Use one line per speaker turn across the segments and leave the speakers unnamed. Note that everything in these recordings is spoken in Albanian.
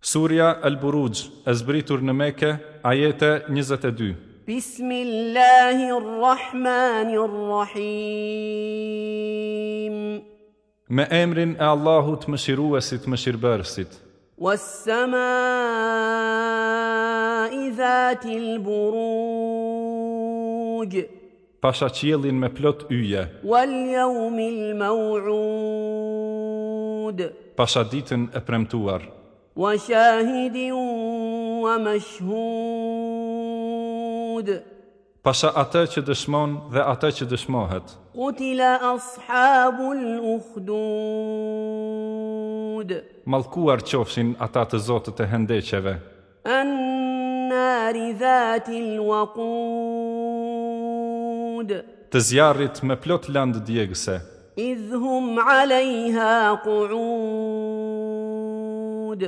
Surja El Buruj, e zbritur në Mekë, ajete 22.
بسم الله الرحمن الرحيم
Me emrin e Allahut më shiruesit më shirëbërësit,
والسماء ذات البروج
pasha qiellin me plot yje,
واليوم الموعود
pasha ditën e premtuar,
وشاهد ومشهود
pasha atë që dëshmon dhe atë që dëshmohet.
قتل أصحاب الأخدود
Mallkuar qofshin ata të zotët e hendeqeve,
النار ذات الوقود
të zjarrit me plot landë djegëse,
إذ هم عليها قعود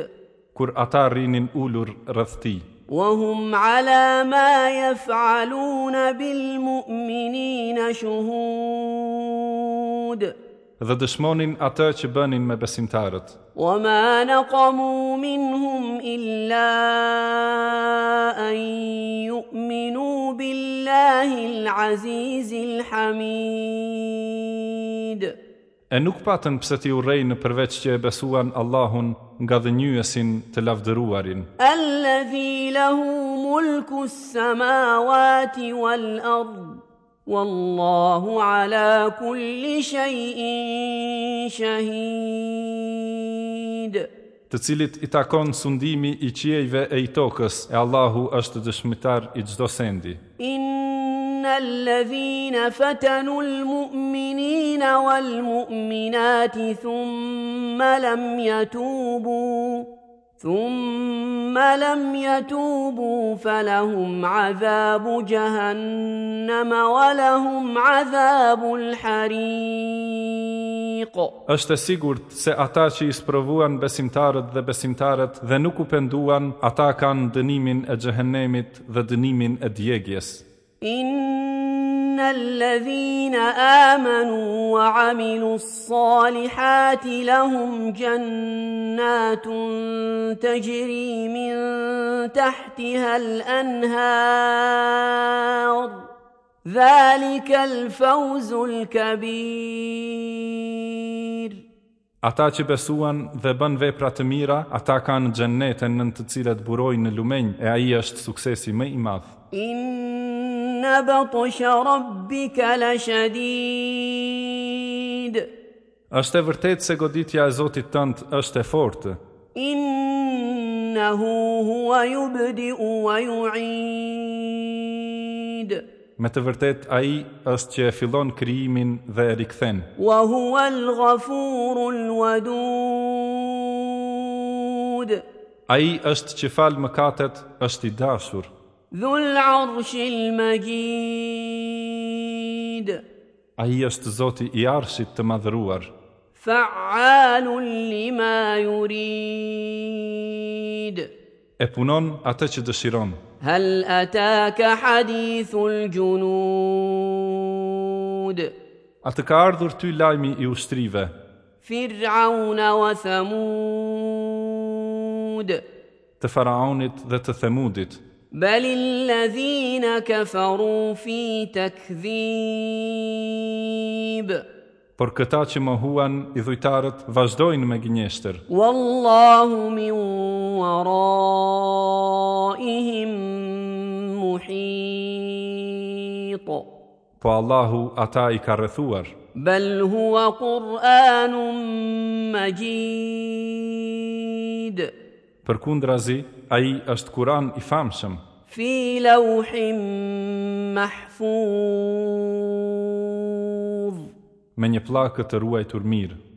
kur ata rinin ulur rreth tij.
وهم على ما يفعلون بالمؤمنين شهود
dhe dëshmonin atë që bënin me besimtarët.
وما نقموا منهم إلا أن يؤمنوا بالله العزيز الحميد
E nuk patën pse ti urrejnë përveç që e besuan Allahun nga dhënjyesin të lavdëruarin,
الذي له ملك السماوات والأرض والله على كل شيء شهيد
të cilit i takon sundimi i qiejve e i tokës, e Allahu është dëshmitar i çdo sendi.
إن الذين فتنوا المؤمنين والمؤمنات ثم لم يتوبوا ثم لم يتوبوا فلهم عذاب جهنم ولهم عذاب الحريق
Është e sigurt se ata që i sprovuan besimtarët dhe besimtarët dhe nuk u penduan, ata kanë dënimin e xhehenemit dhe dënimin e djegjes.
إن الذين آمنوا وعملوا الصالحات لهم جنات تجري من تحتها الأنهار ذلك الفوز الكبير
Ata që besuan dhe bën vepra të mira, ata kanë xhenneten nën të cilat burojnë në lumenj, e ai është suksesi më i madh.
إن بطش ربك لشديد
Është e vërtetë se goditja e Zotit tënd është e fortë.
إنه هو يبدئ ويعيد
Me të vërtetë ai është që e fillon krijimin dhe e rikthen.
وهو الغفور الودود
Ai është që fal mëkatet, është i dashur,
ذو العرش المجيد
ai është Zoti i Arshit të madhëruar,
فعال لما يريد
e punon atë që dëshiron.
هل أتاك حديث الجنود
A të ka ardhur ty lajmi i ushtrive,
فرعون وثمود
të faraonit dhe të themudit,
بل الذين كفروا في تكذيب
por këta që mohuan i dhujtarët vazhdojnë me gënjeshtër.
والله من ورائهم محيط
po Allahu ata i ka rrethuar.
بل هو قرآن مجيد
Përkundrazi, ai është Kur'an i famshëm
في لوح محفوظ
me një pllakë të ruajtur mirë.